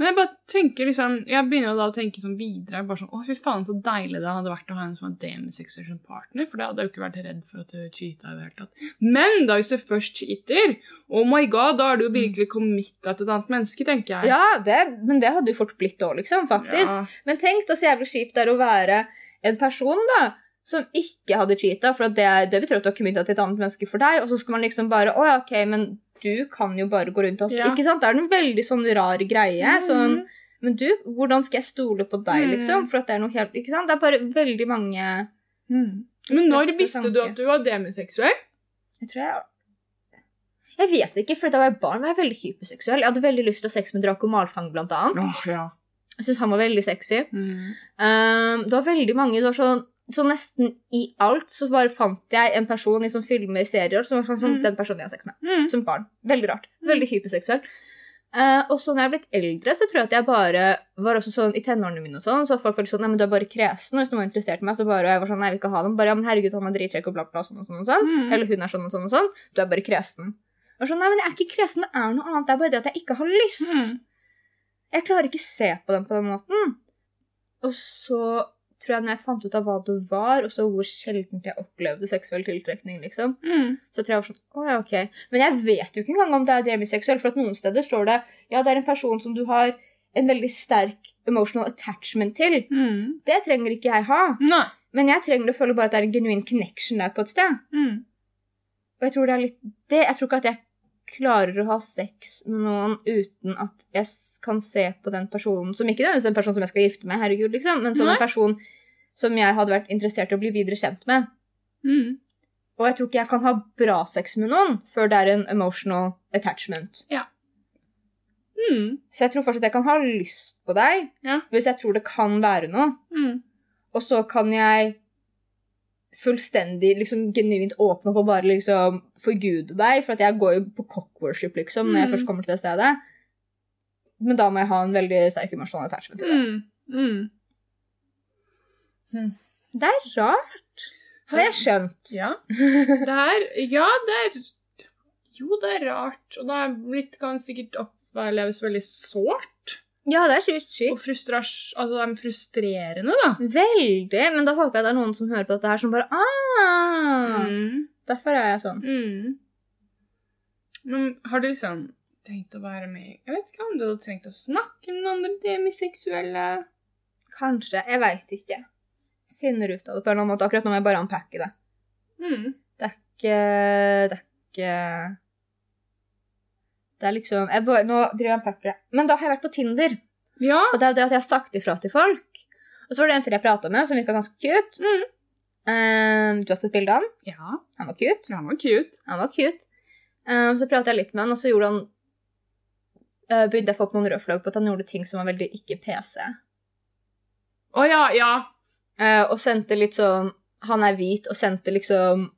B: Men jeg bare tenker liksom, jeg begynner jo da å tenke sånn videre. bare sånn, Å, fy faen, så deilig det hadde vært å ha en som var demisexual partner. For da hadde jeg jo ikke vært redd for at du cheata i det hele tatt. Men da hvis du først cheater, oh my god, da er du jo virkelig committa til et annet menneske, tenker jeg.
A: Ja, det, men det hadde jo fort blitt òg, liksom. faktisk.
B: Ja.
A: Men tenk da så jævlig kjipt det er å være en person da, som ikke hadde cheata, for at det, er- det betyr at du har committa til et annet menneske for deg, og så skal man liksom bare Å ja, OK, men du kan jo bare gå rundt oss.
B: Ja. Mhm.
A: Ikke sant? Det er en veldig sånn rar greie. sånn, Men du, hvordan skal jeg stole på deg,
B: Mm.
A: liksom? For at det er noe helt Ikke sant? Det er bare veldig mange Jeg
B: Mm. Men når
A: Søte
B: visste du
A: tanke.
B: at du var demiseksuell?
A: tror jeg Jeg vet ikke, for da var jeg barn, var jeg veldig hyperseksuell. Jeg hadde veldig lyst til å ha sex med Draco Malfang, blant annet.
B: ja. Mhm.
A: Jeg synes han var veldig sexy.
B: Mm.
A: Um, det var veldig mange. Det var sånn, så nesten i alt så bare fant jeg en person i sånn filmer, serier, som var sånn, sånn
B: Mm.
A: den personen jeg har sex med.
B: Mm.
A: Som barn. Veldig rart.
B: Mm.
A: Veldig hyperseksuell. Eh, og så når jeg er blitt eldre, så tror jeg at jeg bare var også sånn i tenårene mine og sånn, så var folk var litt sånn, nei, men du er bare kresen, og hvis noen var interessert i meg, så bare, og jeg var sånn, nei, jeg vil ikke ha dem, bare, ja, men herregud, han er drittrekk og bla bla, sånn og sånn og sånn,
B: Mm.
A: eller hun er sånn og sånn og sånn, du er bare kresen. Og sånn, nei, men jeg er ikke kresen, det er noe annet, det er bare det at jeg ikke har lyst.
B: Mm.
A: Jeg klarer ikke se på dem på den måten. Og så tror jeg når jeg fant ut av hva det var, og så hvor sjeldent jeg opplevde seksuell tiltrekning, liksom,
B: Mm.
A: så tror jeg jeg var sånn Å ja, ok. Men jeg vet jo ikke engang om det er demiseksuell, for at noen steder står det ja, det er en person som du har en veldig sterk emotional attachment til.
B: Mm.
A: Det trenger ikke jeg ha.
B: Nei.
A: Men jeg trenger å føle bare at det er en genuin connection der på et sted.
B: Mm.
A: Og jeg tror det er litt det. Jeg tror ikke at jeg klarer å ha sex med noen uten at jeg s- kan se på den personen som ikke nødvendigvis en person som jeg skal gifte meg, herregud, liksom, men som
B: Nei.
A: en person som jeg hadde vært interessert i å bli videre kjent med.
B: Mm.
A: Og jeg tror ikke jeg kan ha bra sex med noen før det er en emotional attachment.
B: Mm.
A: Så jeg tror fortsatt jeg kan ha lyst på deg
B: Ja.
A: hvis jeg tror det kan være noe.
B: Mm.
A: Og så kan jeg fullstendig liksom genuint åpne opp og bare liksom forgude deg, for at jeg går jo på cockworship liksom når jeg
B: Mm.
A: først kommer til det stedet. Men da må jeg ha en veldig sterk emosjonal attachment til det.
B: Mm. Mm.
A: Det er rart, har jeg skjønt.
B: Ja. Det er, Mm. ja, det er Jo, det er rart. Og det er blitt kan sikkert oppleves veldig sårt.
A: Ja, det er sykt
B: Og
A: sykt.
B: frustras- altså, det er frustrerende, da.
A: Veldig. Men da håper jeg det er noen som hører på dette her som bare ah,
B: Mm.
A: Derfor er jeg sånn.
B: Mm. Men har du liksom tenkt å være med Jeg vet ikke om du hadde trengt å snakke med noen andre demiseksuelle.
A: Kanskje. Jeg veit ikke. Jeg finner ut av det på en eller annen måte. Akkurat nå må jeg bare unpacke det.
B: Mm.
A: ikke Det er ikke Det er liksom jeg bare, Nå driver jeg og pakker det. Men da har jeg vært på Tinder,
B: Ja.
A: og det er jo det at jeg har sagt ifra til folk. Og så var det en fyr jeg prata med, som virka ganske cute.
B: Mm.
A: Eh, du har sett bildet av han?
B: Ja,
A: Han var cute.
B: han var cute.
A: Han var cute. Eh, så prata jeg litt med han, og så gjorde han eh, begynte jeg å få opp noen røde flagg på at han gjorde ting som var veldig ikke PC.
B: Å ja, ja.
A: Eh, og sendte litt sånn Han er hvit, og sendte liksom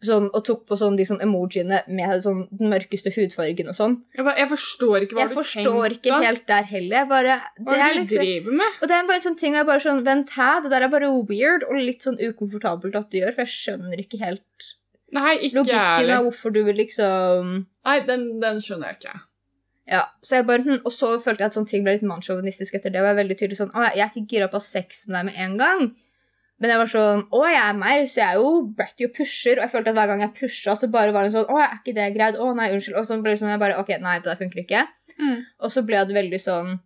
A: sånn, Og tok på sånn de sånn emojiene med sånn den mørkeste hudfargen og sånn.
B: Jeg, bare, jeg forstår ikke hva
A: Jeg
B: du
A: forstår
B: tenkte.
A: ikke helt der heller. Jeg bare,
B: Hva
A: det
B: er
A: er
B: det du
A: liksom,
B: driver med?
A: og det er bare en sånn ting hvor jeg bare sånn Vent, hæ? Det der er bare weird og litt sånn ukomfortabelt at du gjør, for jeg skjønner ikke helt
B: Nei, ikke jeg
A: logikken
B: heller.
A: av hvorfor du vil liksom
B: Nei, den, den skjønner jeg ikke.
A: Ja, så jeg bare, hm, Og så følte jeg at sånne ting ble litt mannssjåvinistisk etter det. Og jeg var veldig tydelig sånn, å, jeg er ikke gira på å ha sex med deg med en gang. Men jeg var sånn, å, jeg er meg, så jeg er jo bratty og pusher. Og jeg følte at hver gang jeg pusha, så bare var det sånn, å, er ikke det greit? Å, nei, unnskyld. Og så ble det sånn, jeg bare, ok, nei, det der funker ikke. Og så ble det veldig sånn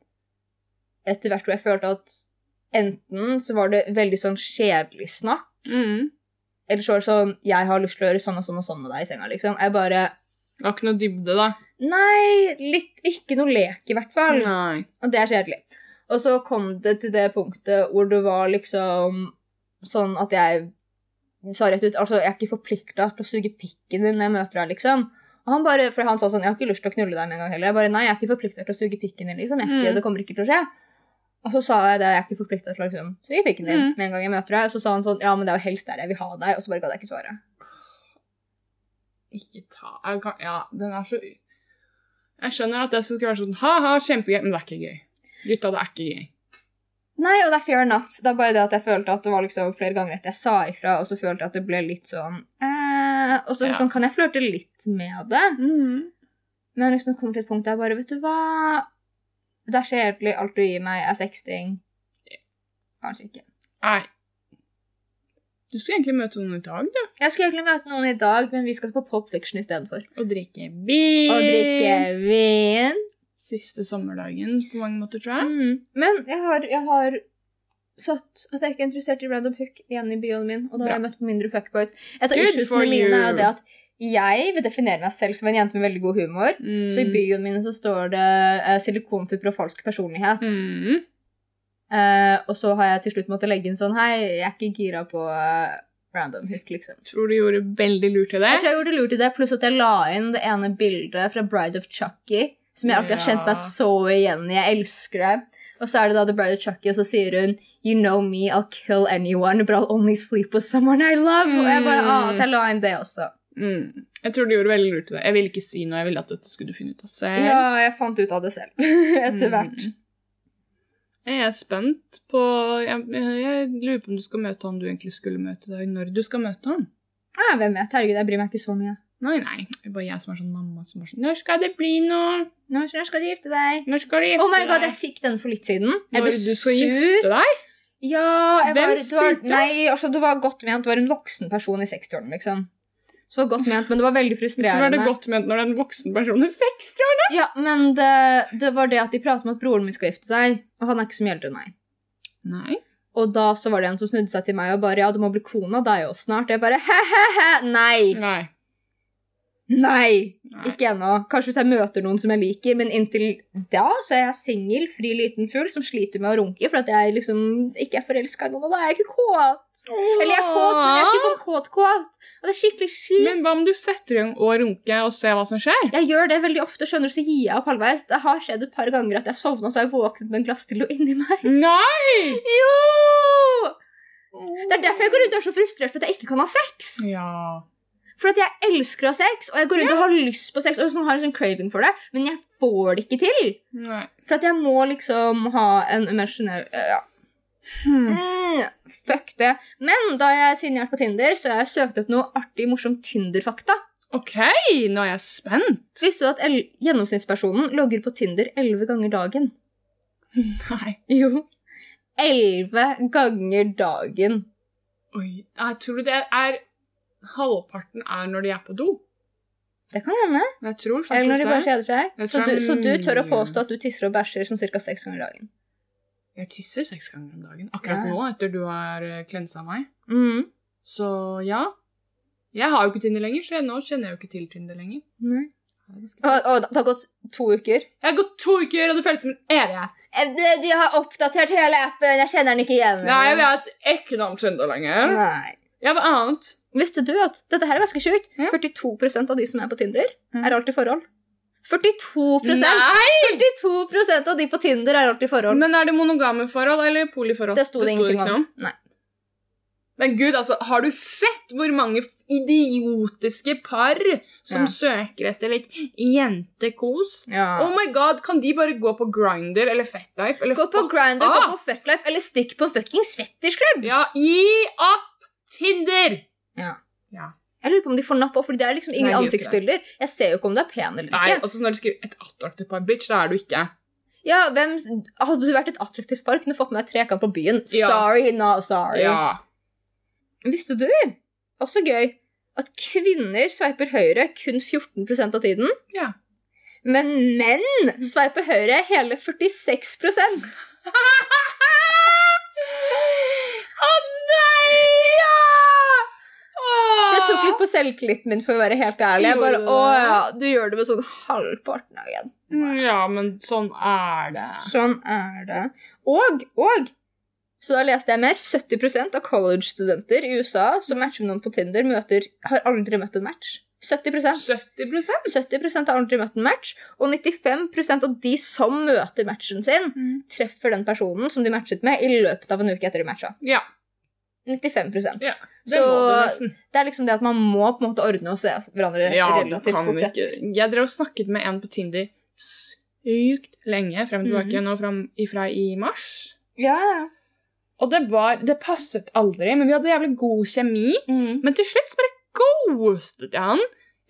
A: Etter hvert hvor jeg følte at enten så var det veldig sånn kjedelig snakk,
B: Mm.
A: eller så var det sånn, jeg har lyst til å gjøre sånn og sånn og sånn med deg i senga, liksom. Jeg bare,
B: Det var ikke noe dybde, da.
A: nei, litt, ikke noe lek i hvert fall.
B: Nei.
A: Og det er kjedelig. Og så kom det til det punktet hvor det var liksom sånn at jeg sa rett ut Altså, jeg er ikke forplikta til å suge pikken din når jeg møter deg, liksom. Og han bare, for han sa sånn Jeg har ikke lyst til å knulle deg med en gang heller. Jeg bare Nei, jeg er ikke forplikta til å suge pikken din, liksom. Jeg er ikke,
B: Mm.
A: Det kommer ikke til å skje. Og så sa jeg det, jeg er ikke forplikta til å liksom, suge pikken din
B: Mm.
A: med en gang jeg møter deg. Og så sa han sånn Ja, men det er jo helst der jeg vil ha deg. Og så bare ga jeg ikke svaret.
B: Ikke ta jeg kan, Ja, den er så Jeg skjønner at det skulle være sånn ha-ha, kjempegøy, men det er ikke gøy. Gutta, det er ikke gøy.
A: Nei, og det er fair enough. Det er bare det at jeg følte at det var liksom flere ganger at jeg sa ifra, og så følte jeg at det ble litt sånn eh, Og så
B: Ja.
A: liksom, kan jeg flørte Mm. litt med det, men liksom det kommer til et punkt der jeg bare Vet du hva? Det er så hjelpelig. Alt du gir meg, er sexting. Kanskje ikke.
B: Nei. Du skulle egentlig møte noen i dag, du.
A: Jeg skulle egentlig møte noen i dag, men vi skal på Pop Fiction istedenfor.
B: Og drikke vin.
A: Og drikke vin.
B: Siste sommerdagen på mange måter, tror jeg.
A: Mm. Men jeg har, jeg har satt at jeg ikke er interessert i random hook igjen i bioen min. Og da har
B: Bra.
A: jeg møtt på mindre fuckboys. Et av
B: Good for
A: issuesene mine er
B: you.
A: jo det at jeg vil definere meg selv som en jente med veldig god humor.
B: Mm.
A: Så i bioen min så står det eh, silikonpupper og falsk personlighet.
B: Mm.
A: Eh, og så har jeg til slutt måttet legge inn sånn Hei, jeg er ikke gira på eh, random hook, liksom.
B: Tror du gjorde veldig lurt til det.
A: Jeg tror jeg gjorde lurt i det, pluss at jeg la inn det ene bildet fra Bride of Chucky, som jeg alltid har kjent meg
B: Ja.
A: så igjen i. Jeg elsker det. Og så er det da The Bride of Chucky, og så sier hun You know me, I'll kill anyone, but I'll only sleep with someone I love. Og jeg bare, ah, Så jeg la inn det også.
B: Mm. Jeg tror du gjorde veldig lurt til det. Jeg ville ikke si noe. Jeg ville at dette skulle du finne ut av selv.
A: Ja, jeg fant ut av det selv etter
B: Eh? Mm.
A: hvert.
B: Jeg er spent på jeg, jeg lurer på om du skal møte han du egentlig skulle møte i dag. Når du skal møte han.
A: Ah, hvem vet? Herregud, jeg bryr meg ikke så mye.
B: Nei, nei. Det er bare jeg som er sånn mamma som er sånn Når skal det bli noe?
A: Når når skal du gifte deg?
B: Når skal du gifte
A: Oh my god, jeg
B: deg?
A: fikk den for litt siden. Jeg
B: Når
A: ble
B: du skal
A: sur.
B: gifte deg?
A: Ja, jeg
B: Hvem
A: var, det var,
B: spurte?
A: nei, altså, det var godt ment. Det var en voksen person i 60-årene, liksom. Så det var godt ment, men det var veldig
B: Så var
A: frustrerende.
B: det godt ment når det er en voksen person i 60 år.
A: Ja, Men det, det var det at de pratet om at broren min skal gifte seg, og han er ikke så mye eldre enn meg.
B: Nei.
A: Og da så var det en som snudde seg til meg og bare Ja, du må bli kona, deg òg snart. Jeg bare he-he-he. Nei.
B: Nei.
A: Nei.
B: nei.
A: Ikke ennå. Kanskje hvis jeg møter noen som jeg liker, men inntil da så er jeg singel, fri liten fugl som sliter med å runke fordi at jeg liksom ikke er forelska i noen, og da er jeg ikke kåt. Eller jeg er kåt, men jeg er ikke sånn kåt-kåt. Og det er skikkelig kjipt.
B: Men hva om du setter i gang og runker og ser hva som skjer?
A: Jeg gjør det veldig ofte, skjønner du, så gir jeg opp halvveis. Det har skjedd et par ganger at jeg sovna og så har jeg våknet med en glassdildo inni meg.
B: Nei!
A: Jo! Det er derfor jeg går rundt og er så frustrert for at jeg ikke kan ha sex.
B: Ja.
A: For at jeg elsker å ha sex, og jeg går rundt og har lyst på sex, og sånn har jeg en sånn craving for det, men jeg får det ikke til.
B: Nei.
A: For at jeg må liksom ha en emosjonell eh, ja. Fuck det. Men da jeg siden jeg er på Tinder, så har jeg søkt opp noe artig, morsomt Tinder-fakta.
B: OK, nå er jeg spent.
A: Visste du at el gjennomsnittspersonen logger på Tinder elleve ganger dagen?
B: Nei.
A: Jo. Elleve ganger dagen.
B: Oi. Jeg tror det er Halvparten er når de er på do.
A: Det kan hende.
B: Jeg tror
A: Eller når
B: faktisk
A: de bare
B: det.
A: kjeder seg.
B: Jeg
A: Så
B: tror
A: du,
B: det er
A: så du tør å
B: mye.
A: påstå at du tisser og bæsjer sånn ca. seks ganger i dagen?
B: Jeg tisser seks ganger om dagen.
A: Ja.
B: Akkurat nå, etter du har eh, klensa meg.
A: Mm.
B: Så ja. Jeg har jo ikke Tinder lenger, så jeg, nå kjenner jeg jo ikke til Tinder lenger.
A: Nei.
B: Det er ganske-
A: Og, og det har gått to uker.
B: Jeg har gått to uker, og det føles som en evighet.
A: Eh, De, de har oppdatert hele appen. Jeg kjenner den ikke igjen.
B: Nei, jeg vet ikke noe om Tinder lenger.
A: Nei.
B: Ja, hva annet?
A: Visste du at dette her er ganske sjukt?
B: Ja.
A: 42 av de som er på Tinder,
B: Mm.
A: er alltid i forhold. 42
B: Nei!
A: 42 av de på Tinder er alltid i forhold.
B: Men er det monogame forhold eller poliforhold?
A: Det sto det ingenting
B: ikke
A: om. Nei.
B: Men gud, altså, har du sett hvor mange f- idiotiske par som
A: Ja.
B: søker etter litt jentekos?
A: Ja.
B: Oh my god, kan de bare gå på Grinder eller Fatlife? Eller
A: Gå på Grindr, gå
B: Ah!
A: på Fucklife, eller stikk på fuckings fettersklubb!
B: Ja, gi opp Tinder!
A: Jeg lurer på om de får napp òg, for det er liksom ingen
B: Nei, de gjør ikke det.
A: ansiktsbilder. Jeg ser jo ikke om du er pen eller
B: Nei,
A: ikke.
B: altså når du skriver et attraktivt par, bitch, da er du ikke.
A: Ja, hvem, hadde du vært et attraktivt par, kunne du fått med deg trekant på byen.
B: Ja.
A: Sorry, not sorry.
B: Ja.
A: Visste du, også gøy, at kvinner sveiper høyre kun 14 av tiden?
B: Ja.
A: Men menn sveiper høyre hele 46
B: Å nei! Ja! Åh!
A: Jeg tok litt på selvtilliten min, for å være helt ærlig. Jeg bare,
B: Ah. Gjorde du det?
A: å ja, Du gjør det med sånn halvparten av igjen.
B: Mm, Ja, men sånn er det.
A: Sånn er det. Og, og så da leste jeg mer. 70 av college-studenter i USA som matcher med noen på Tinder, møter, har aldri møtt en match. 70
B: 70
A: 70 har aldri møtt en match, og 95 av de som møter matchen sin,
B: Mm.
A: treffer den personen som de matchet med, i løpet av en uke etter de matcha.
B: Ja.
A: 95
B: Ja, Det
A: Så
B: må du nesten.
A: det er liksom det at man må på en måte ordne og se hverandre
B: Ja, du
A: relativt
B: kan
A: fort. etter.
B: ikke. Jeg drev og snakket med en på Tinder sykt lenge, frem og tilbake
A: Mhm.
B: nå frem ifra i mars.
A: Ja.
B: Og det var Det passet aldri, men vi hadde jævlig god kjemi.
A: Mm.
B: Men til slutt så bare ghostet jeg han.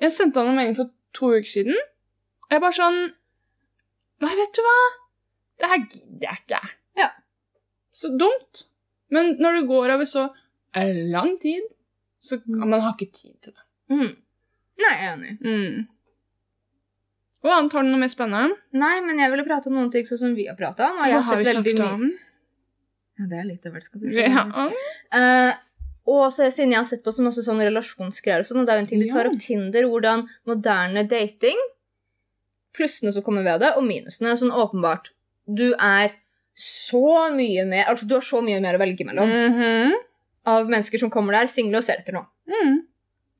B: Jeg sendte han en melding for to uker siden. Og jeg bare sånn Nei, vet du hva? Det her gidder jeg ikke.
A: Ja.
B: Så dumt. Men når det går over så eh, lang tid, så
A: Mhm.
B: kan man ha ikke tid til det.
A: Mm. Nei, jeg er enig.
B: Mm. Hva annet har du noe mer spennende?
A: Nei, men jeg ville prate om noen ting sånn som vi har prata om. Og jeg har
B: Hva
A: sett
B: vi
A: veldig
B: snakket
A: mye
B: om?
A: Ja, det er litt av hvert, skal du si.
B: Ja.
A: Eh, og så er- siden jeg har sett på så masse sånne relasjonsgreier og sånn, og det er jo en ting de tar
B: Ja.
A: opp Tinder, hvordan moderne dating Plussene som kommer ved det, og minusene. Sånn åpenbart. Du er så mye mer Altså, du har så mye mer å velge mellom
B: Mhm.
A: av mennesker som kommer der, single og ser etter noe.
B: Mm.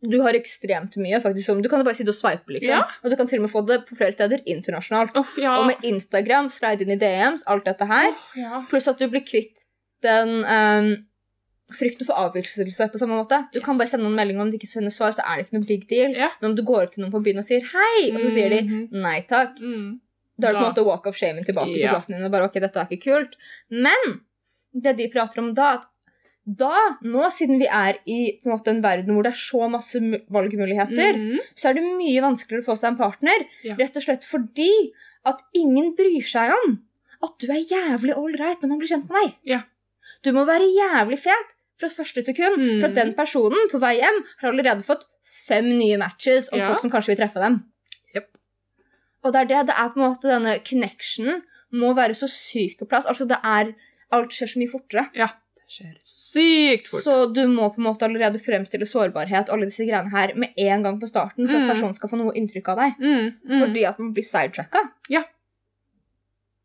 A: Du har ekstremt mye, faktisk. som- Du kan bare sitte og sveipe, liksom.
B: Ja.
A: Og du kan til og med få det på flere steder internasjonalt.
B: Uff, ja.
A: Og med Instagram, slide inn i DMs, alt dette her.
B: Åh, ja.
A: Pluss at du blir kvitt den ehm, frykten for avviselse på samme måte. Du kan
B: Yes.
A: bare sende noen melding om de ikke sender svar, så er det ikke noe big deal.
B: Ja.
A: Men om du går opp til noen på byen og sier hei, og så sier de
B: Mhm.
A: nei takk,
B: Mm.
A: da er det på en
B: Da-
A: måte walk of shamen tilbake
B: Ja.
A: til plassen din. og bare, ok, dette er ikke kult. Men det de prater om da, at da, nå siden vi er i på en, måte, en verden hvor det er så masse mu- valgmuligheter,
B: Mhm.
A: så er det mye vanskeligere å få seg en partner.
B: Ja.
A: Rett og slett fordi at ingen bryr seg om at du er jævlig ålreit når man blir kjent med deg.
B: Ja.
A: Du må være jævlig fet fra første sekund,
B: Mm.
A: for at den personen på vei hjem har allerede fått fem nye matches om
B: Ja.
A: folk som kanskje vil treffe dem.
B: Jep.
A: Og det er det. Det er på en måte denne connectionen må være så sykt på plass. Altså, det er Alt skjer så mye fortere.
B: Det skjer sykt fort.
A: Så du må på en måte allerede fremstille sårbarhet og alle disse greiene her med en gang på starten for
B: Mm.
A: at personen skal få noe inntrykk av deg.
B: Mm, mm.
A: Fordi at man blir sidetracka.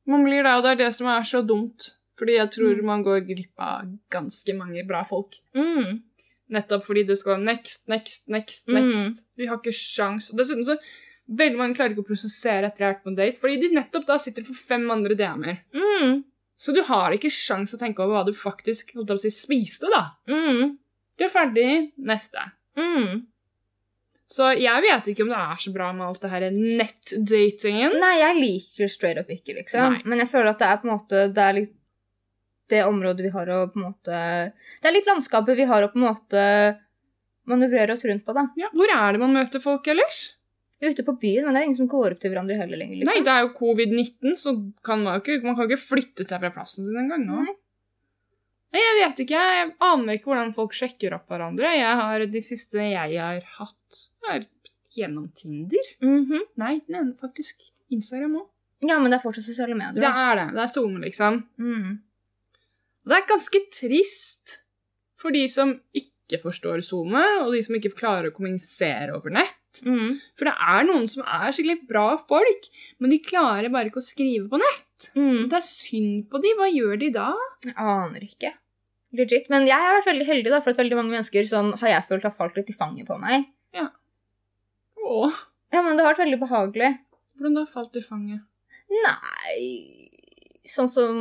B: Man blir det, og det er det som er så dumt. Fordi jeg tror
A: Mm.
B: man går glipp av ganske mange bra folk.
A: Mm.
B: Nettopp fordi det skal være next, next, next,
A: Mm.
B: next. Vi har ikke sjans. Og dessuten så veldig mange klarer ikke å prosessere etter å ha vært på en date, fordi de nettopp da sitter for fem andre DM-er.
A: Mm.
B: Så du har ikke sjans å tenke over hva du faktisk holdt på å si, spiste, da.
A: Mm.
B: Du er ferdig. Neste.
A: Mm.
B: Så jeg vet ikke om det er så bra med alt det her nettdatingen.
A: Nei, jeg liker straight up ikke, liksom.
B: Nei.
A: Men jeg føler at det er på en måte Det er litt det området vi har å på en måte Det er litt landskapet vi har å på en måte manøvrere oss rundt på, da.
B: Ja, hvor er det man møter folk ellers?
A: Ute på byen, men det er jo ingen som går opp til hverandre heller lenger,
B: Nei,
A: liksom.
B: det er jo covid-19, så kan man, jo ikke, man kan jo ikke flytte seg fra plassen sin engang nå.
A: Nei.
B: Nei, jeg vet ikke. Jeg aner ikke hvordan folk sjekker opp hverandre. Jeg har, de siste jeg har hatt, er gjennom Tinder.
A: Mhm.
B: Nei, den ene faktisk Instagram òg.
A: Ja, men det er fortsatt sosiale
B: Det
A: medier. da.
B: er det. Det er SoMe, liksom.
A: Mm.
B: Og det er ganske trist for de som ikke forstår SoMe, og de som ikke klarer å kommunisere over nett.
A: Mm.
B: For det er noen som er skikkelig bra folk, men de klarer bare ikke å skrive på nett.
A: Mm.
B: Det er synd på de. Hva gjør de da?
A: Jeg aner ikke. Legit. Men jeg har vært veldig heldig, da, for at veldig mange mennesker sånn, har jeg følt har falt litt i fanget på meg.
B: Åh,
A: Ja, men det har vært veldig behagelig.
B: hvordan da falt du i fanget?
A: Nei Sånn som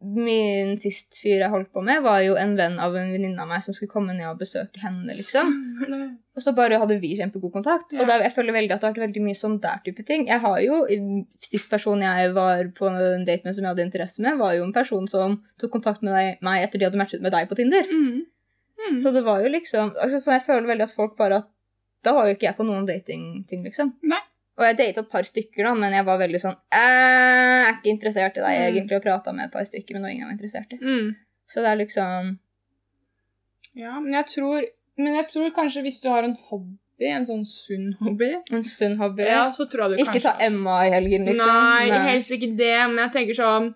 A: min sist fyr jeg holdt på med, var jo en venn av en venninne av meg som skulle komme ned og besøke henne, liksom.
B: Eller-
A: Og så bare hadde vi kjempegod kontakt.
B: Ja.
A: Og da, jeg føler veldig at det har vært veldig mye sånn der type ting. Jeg har jo, Sist person jeg var på en date med som jeg hadde interesse med, var jo en person som tok kontakt med deg, meg etter de hadde matchet med deg på Tinder.
B: Mm. Mm.
A: Så det var jo liksom altså, Så jeg føler veldig at folk bare at Da var jo ikke jeg på noen datingting, liksom.
B: Nei.
A: Og jeg datet et par stykker, da, men jeg var veldig sånn Jeg er ikke interessert i deg,
B: Mm.
A: egentlig, og prata med et par stykker, men det var ingen jeg var interessert i.
B: Mm.
A: Så det er liksom
B: Ja, men jeg, tror, men jeg tror kanskje hvis du har en hobby, en sånn sunn hobby
A: en sunn hobby.
B: ja, så tror jeg du
A: ikke
B: kanskje
A: ta Emma i helgen, liksom.
B: Nei, helst ikke det, men jeg tenker sånn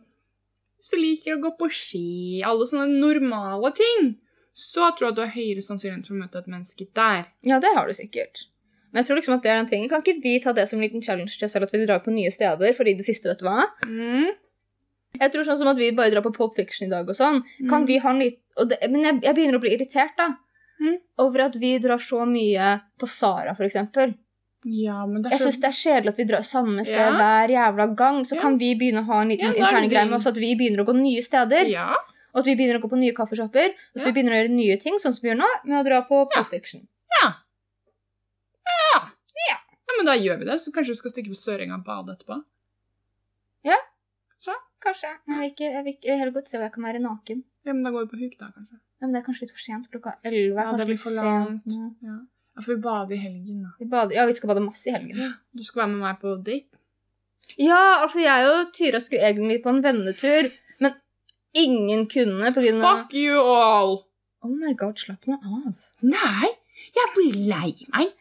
B: Hvis du liker å gå på ski, alle sånne normale ting, så tror jeg at du har høyere sannsynlighet for å møte et menneske der.
A: Ja, det har du sikkert. Men jeg tror liksom at det er den tingen. Kan ikke vi ta det som en liten challenge til oss selv at vi drar på nye steder? Fordi det siste, vet du hva?
B: Mm.
A: Jeg tror sånn som at vi bare drar på Pop Fiction i dag og sånn. Kan vi ha en lit- og det, Men jeg, jeg begynner å bli irritert da
B: Mm.
A: over at vi drar så mye på Sara, f.eks. Jeg
B: Ja, men det er så
A: syns det er kjedelig at vi drar samme sted
B: Ja.
A: hver jævla gang. Så
B: Ja.
A: kan vi begynne å ha en liten
B: Ja, da er
A: interne
B: det
A: greie
B: din.
A: med oss at vi begynner å gå nye steder.
B: Ja.
A: Og at vi begynner å gå på nye kaffeshopper. Og at
B: Ja.
A: vi begynner å gjøre nye ting, sånn som vi gjør nå, med å dra på
B: Ja.
A: Pop Fiction.
B: Ja, men da gjør vi det, så kanskje du skal stikke på Sørenga og bade etterpå.
A: Kanskje. Men jeg vil ikke, jeg vil ikke heller godt se hvor jeg kan være naken.
B: Ja, men da går vi på huk da, kanskje.
A: Ja, men det er kanskje litt for sent. Klokka elleve er
B: Ja, det
A: kanskje
B: blir
A: litt
B: for langt.
A: sent. nå.
B: Ja. Jeg får bade i helgen da.
A: Vi bader, ja, vi skal bade masse i helgen.
B: Du skal være med meg på date.
A: Ja, altså jeg og Tyra skulle egentlig på en vennetur, men ingen kunne på grunn av...
B: Fuck you all!
A: Oh my god, slapp nå av.
B: Nei, jeg blir lei meg.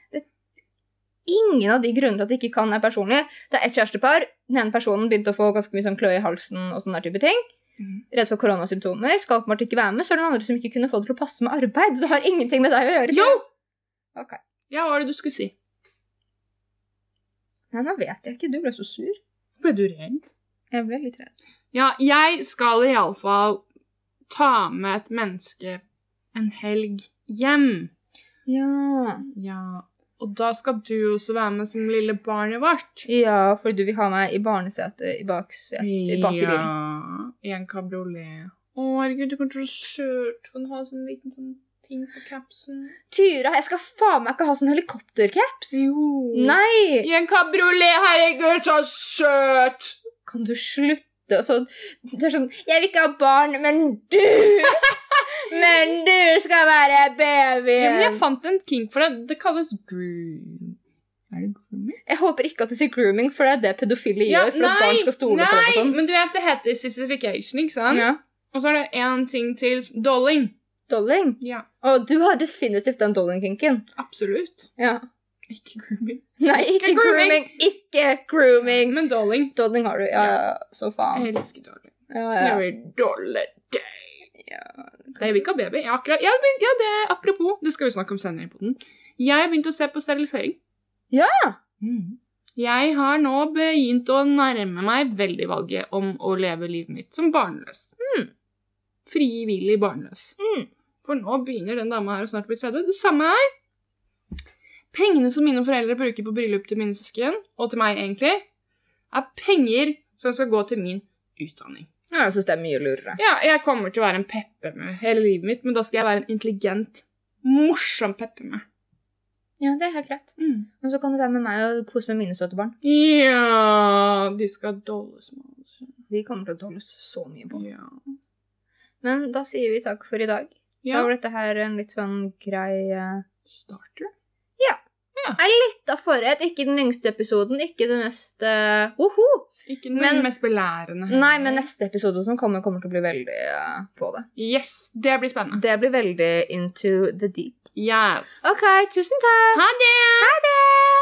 A: Ingen av de grunner til at de ikke kan er personlig. Det er et kjærestepar. Den ene personen begynte å få ganske mye sånn kløe i halsen og sånne der type ting.
B: Mhm.
A: Redd for koronasymptomer. Skal åpenbart ikke være med. Så er det noen andre som ikke kunne få det til å passe med arbeid. Det har ingenting med deg å gjøre.
B: Jo!
A: Ok.
B: Ja, hva var det du skulle si?
A: Nei, nå vet jeg ikke. Du ble så sur.
B: Ble du redd?
A: Jeg ble litt redd.
B: Ja, jeg skal iallfall ta med et menneske en helg hjem.
A: Ja.
B: Ja. Og da skal du også være med som lille barnet vårt.
A: Ja, fordi du vil ha meg i barnesetet i baksetet. I bak i bilen.
B: Ja, i en kabriolet. Å, herregud, du kommer til å skjørt. Kan du ha sånn liten sånn ting på capsen?
A: Tyra, jeg skal faen meg ikke ha sånn helikoptercaps!
B: Jo. Nei.
A: Nei!
B: I en kabriolet, herregud, så søt!
A: kan du slutte? Og så, det er sånn, jeg vil ikke ha barn, men du! Men du skal være
B: Ja, men jeg
A: babyen!
B: fant en kink for det. Det kalles groom. Er det grooming?
A: Jeg håper ikke at du sier grooming, for det er det pedofile gjør. for at barn skal stole
B: nei,
A: på dem og sånn.
B: men du vet, det heter sissification, ikke sant?
A: Ja.
B: Og så er det en ting til. Dolling.
A: Dolling.
B: Ja,
A: Og du har definitivt den dolling-kinken.
B: absolutt.
A: Ja.
B: Ikke grooming.
A: Nei, ikke
B: Ikke grooming.
A: grooming. Ikke grooming!
B: Men dolling.
A: Dolling har du. Ja, ja. så faen.
B: Jeg elsker dolling.
A: Ja, ja.
B: Every dollar day. Jeg vil ikke ha baby. Jeg har akkurat, jeg har begynt, ja, det, apropos, det skal vi snakke om senere på den. Jeg har begynt å se på sterilisering.
A: Ja!
B: Mm. Jeg har nå begynt å nærme meg veldig valget om å leve livet mitt som barnløs. Frivillig barnløs.
A: Mm.
B: For nå begynner den dama her å snart bli 30. Det samme her. Pengene som mine foreldre bruker på bryllup til mine søsken, og til meg egentlig, er penger som skal gå til min utdanning.
A: Ja, Jeg syns det er mye lurere.
B: Ja, jeg kommer til å være en peppermø hele livet mitt, men da skal jeg være en intelligent, morsom peppermø.
A: Ja, det er helt rett.
B: Mm.
A: Og så kan du være med meg og kose med mine søte barn.
B: Ja, de skal dolles med oss.
A: De kommer til å dolles så mye på.
B: Ja.
A: Mm. Men da sier vi takk for i dag.
B: ja.
A: Da var dette her en litt sånn grei eh,
B: Starter.
A: Litt av forrett. Ikke den lengste episoden, ikke det mest eh, hoho.
B: Ikke den
A: Men-
B: mest belærende.
A: Nei, men neste episode som kommer, kommer til å bli veldig eh, på det.
B: Yes, det blir spennende.
A: Det blir veldig into the deep.
B: Yes. Ah.
A: OK, tusen takk.
B: Ha det!
A: Ha det!